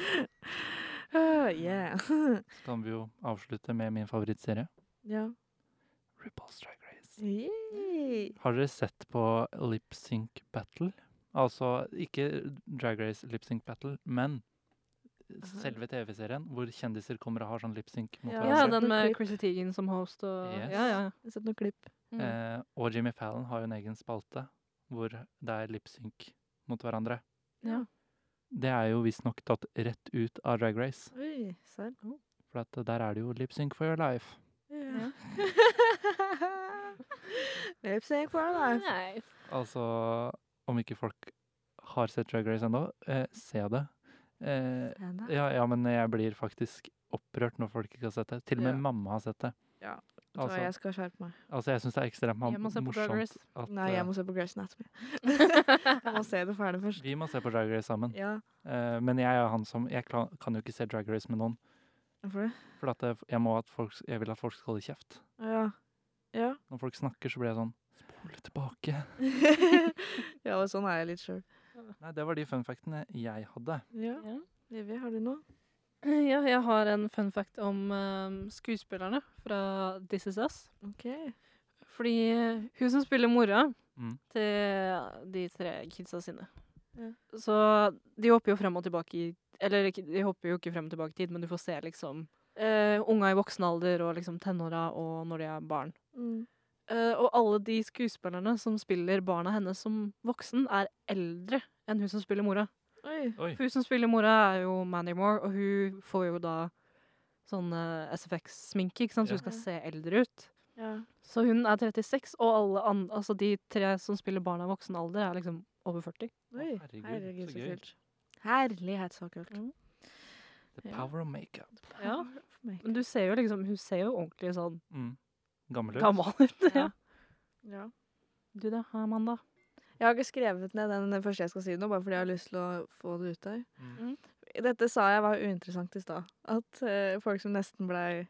Oh, yeah.
Så kan vi jo avslutte med min favorittserie,
ja.
RuPaul's Drag Race.
Yay.
Har dere sett på Lip Sync Battle? Altså ikke Drag Race Lip Sync Battle, men selve TV-serien hvor kjendiser kommer og har sånn lip sync mot
Ja.
Ja,
hverandre.
den med
Klipp.
Chrissy Teigen som host og
Yes.
Ja, ja.
Jeg har sett noen klipp.
Mm.
Eh, og Jimmy Fallon har jo en egen spalte hvor det er lipsynk mot hverandre.
Ja.
Det er jo visstnok tatt rett ut av Drag Race,
Oi, serr.
for at der er det jo lipsynk for your life.
Oh. Ja. Lip sync for our life.
Nei.
Altså om ikke folk har sett Drag Race ennå, eh, se det. Eh,
Er det?
ja, ja, men jeg blir faktisk opprørt når folk ikke har sett det. Til og med
Ja.
mamma har sett det.
Ja, Så
Altså,
jeg skal skjerpe meg.
altså jeg syns det er ekstremt
Jeg må se på Drag
morsomt
Race.
at
Nei,
eh,
jeg må se på Grace Anatomy. jeg må se det ferdig først.
vi må se på Drag Race sammen.
Ja,
Eh, men jeg er han som Jeg kla- kan jo ikke se Drag Race med noen.
hvorfor det?
For at eh, jeg, jeg, må at folk, jeg vil at folk skal holde kjeft.
Ja. Ja.
Når folk snakker, så blir jeg sånn Spole tilbake.
ja, og sånn er jeg litt sjøl.
Nei, det var de fun factene jeg hadde.
Ja.
Ja.
Vivi, har du noe?
Ja, jeg har en fun fact om eh, skuespillerne fra This Is Us.
OK.
Fordi eh, hun som spiller mora
Mm.
til de tre kidsa sine
Ja.
Så de hopper jo frem og tilbake i Eller ikke- de hopper jo ikke frem og tilbake i tid, men du får se liksom eh, unga i voksen alder og liksom tenåra og når de er barn.
Mm.
Eh, og alle de skuespillerne som spiller barna hennes som voksen, er eldre enn hun som spiller mora.
Oi.
Oi.
For hun som spiller mora, er jo Mandy Moore, og hun får jo da sånn eh, SFX-sminke, ikke sant, så
Ja.
hun skal se eldre ut.
Ja.
Så hun er 36, og alle an altså de tre som spiller barna i voksen alder, er liksom over 40.
Oi.
herregud,
Herregud,
så
så
gøy.
kult. Herlighet, så kult.
Mm.
The
Ja.
power of makeup.
Ja.
Power of makeup.
Men du ser jo liksom, hun ser jo ordentlig sånn
Mm. Gammel ut.
gammel ut.
Ja.
Ja.
Ja.
Du da, Amanda?
Jeg har ikke skrevet ned den første jeg skal si nå, bare fordi jeg har lyst til å få det ut der.
Mm.
Dette sa jeg var uinteressant i stad. At eh, folk som nesten blei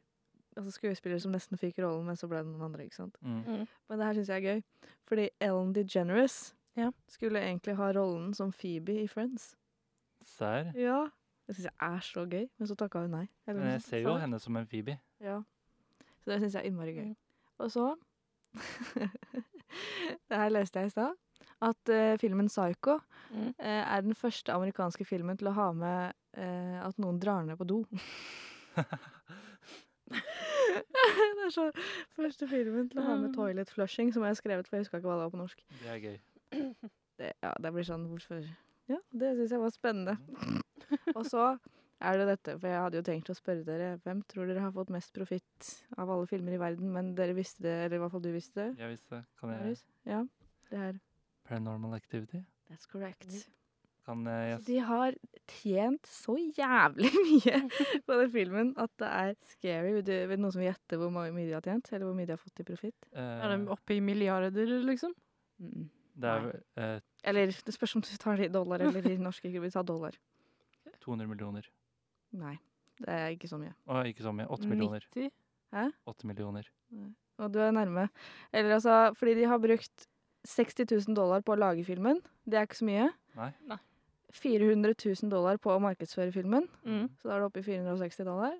Altså skuespillere som nesten fikk rollen, men så ble det noen andre. ikke sant?
Mm.
Men det her syns jeg er gøy. Fordi Ellen DeGeneres
Ja.
skulle egentlig ha rollen som Phoebe i Friends.
Serr.
Ja. Det syns jeg er så gøy, men så takka hun nei. Eller noe
Men Eh, jeg
sånt,
ser
sa
jo
hun.
henne som en Phoebe.
Ja. Så det syns jeg er innmari
Mm.
gøy. Og så Det her leste jeg i stad. At eh, filmen 'Psycho'
Mm.
eh, er den første amerikanske filmen til å ha med eh, at noen drar ned på do. det er så første filmen til å ha med
Mm.
'toilet flushing', som jeg har skrevet, for jeg huska ikke hva det var på norsk.
Det er gøy.
Det, ja, det blir sånn hvorfor Ja, det syns jeg var spennende. Og så er det dette, for jeg hadde jo tenkt å spørre dere hvem tror dere har fått mest profitt av alle filmer i verden, men dere visste det, eller i hvert fall du visste det.
Jeg visste. eh, Kan jeg
Marius? Ja, det her.
Paranormal Activity?
That's correct.
Kan eh, jeg
Så de har tjent så jævlig mye på den filmen at det er scary. Vil, du, vil noen som gjetter hvor mye de har tjent, eller hvor mye de har fått i profitt?
eh,
Er de oppe i milliarder, liksom?
Mm.
Det er eh,
Eller det spørs om du tar det i dollar eller i norske kroner. Vi tar dollar.
200 millioner.
Nei, det er ikke så mye.
Å, ikke så mye. 8 millioner.
90?
8 millioner.
Og du er nærme. Eller altså, fordi de har brukt 60 000 dollar på å lage filmen. Det er ikke så mye.
Nei.
Nei.
400 000 dollar på å markedsføre filmen.
Mm.
Så da er det oppe i 460 dollar.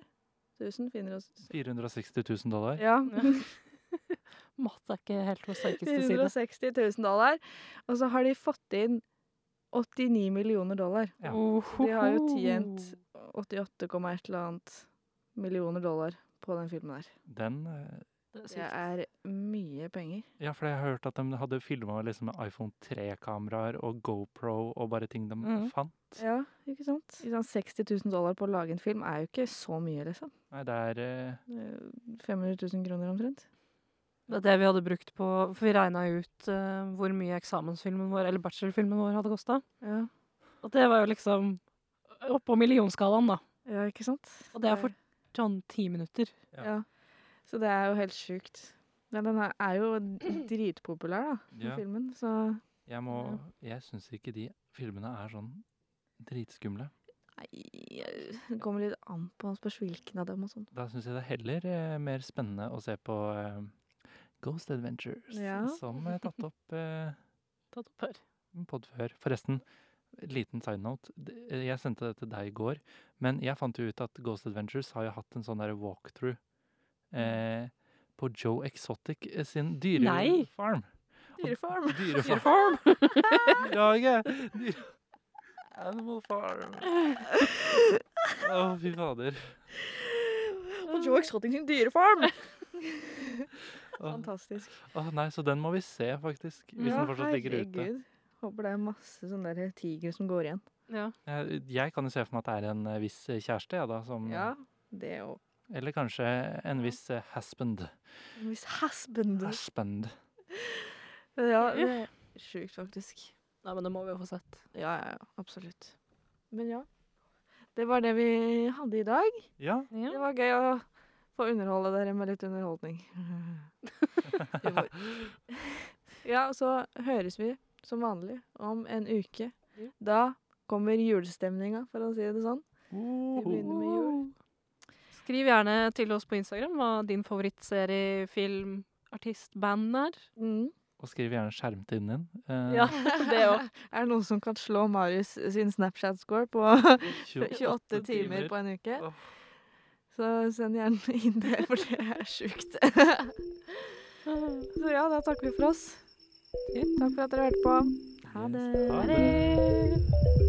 1000, 460
460 000 dollar.
Ja.
Matt er ikke helt på sterkeste side.
460 000 dollar. Og så har de fått inn 89 millioner dollar.
Ja.
De har jo tjent 88,1 eller annet millioner dollar på den filmen her.
Den eh,
Det er
Det
sykt.
er mye penger.
Ja, for jeg har hørt at de hadde filma liksom, med iPhone 3-kameraer og GoPro og bare ting de
Mhm.
fant.
Ja, ikke sant? Ikke sant, 60 000 dollar på å lage en film er jo ikke så mye, liksom.
Nei, det er eh,
Det er jo 500 000 kroner omtrent.
Det er det vi hadde brukt på For vi regna ut eh, hvor mye eksamensfilmen vår, eller bachelorfilmen vår, hadde kosta.
Ja,
Og det var jo liksom oppå millionskalaen, da.
ja ikke sant?
Og det er for sånn ti minutter.
Ja.
Ja. Så det er jo helt sjukt. Men den er- er jo dritpopulær, da, den
Ja.
filmen. Så
Jeg, må- jeg syns ikke de filmene er sånn dritskumle.
Nei, eh, det kommer litt an på han spørs hvilken av dem og sånn.
Da syns jeg det er heller eh, mer spennende å se på eh, Ghost Adventures,
Ja.
som er tatt opp eh,
Ta det opp her.
pod før. Forresten, liten side note. D- eh, Jeg sendte det til deg i går, men jeg fant jo ut at Ghost Adventures har jo hatt en sånn der walkthrough eh, på Joe Exotic eh, sin
Nei.
dyrefarm.
Dyrefarm.
Dyrefarm. Ja, ikke? Dyre... Animal Farm. Å, fy fader.
Og Joe Exotic sin dyrefarm!
Å,
Fantastisk.
å, nei, så den må vi se, faktisk. Hvis den fortsatt ligger ute.
Håper det er masse sånne der tigre som går igjen.
Ja.
Jeg, Eh, jeg kan jo se for meg at det er en eh, viss eh, kjæreste, jeg, da. Som,
Ja, det òg.
Eller kanskje en viss eh, husband.
Miss Husband.
Husband.
Ja, det er sjukt, faktisk.
Nei, men det må vi jo få sett.
Ja, ja, ja, absolutt. Men ja. Det var det vi hadde i dag.
Ja,
Det var gøy å få underholde dere med litt underholdning. Humor. ja, og så høres vi som vanlig om en uke.
Ja.
Da kommer julestemninga, for å si det sånn. Vi begynner med jul.
Skriv gjerne til oss på Instagram hva din favorittserie, film, artist, band er.
Mm.
og skriv gjerne skjermtiden din. Eh,
Ja, det òg.
Er det noen som kan slå Marius sin Snapchat-score på 28 timer på en uke?
Åh.
Så send gjerne inn det, for det er sjukt. Så ja, da takker vi for oss. Takk for at dere hørte på. Ha
Yes,
det.
Ha det.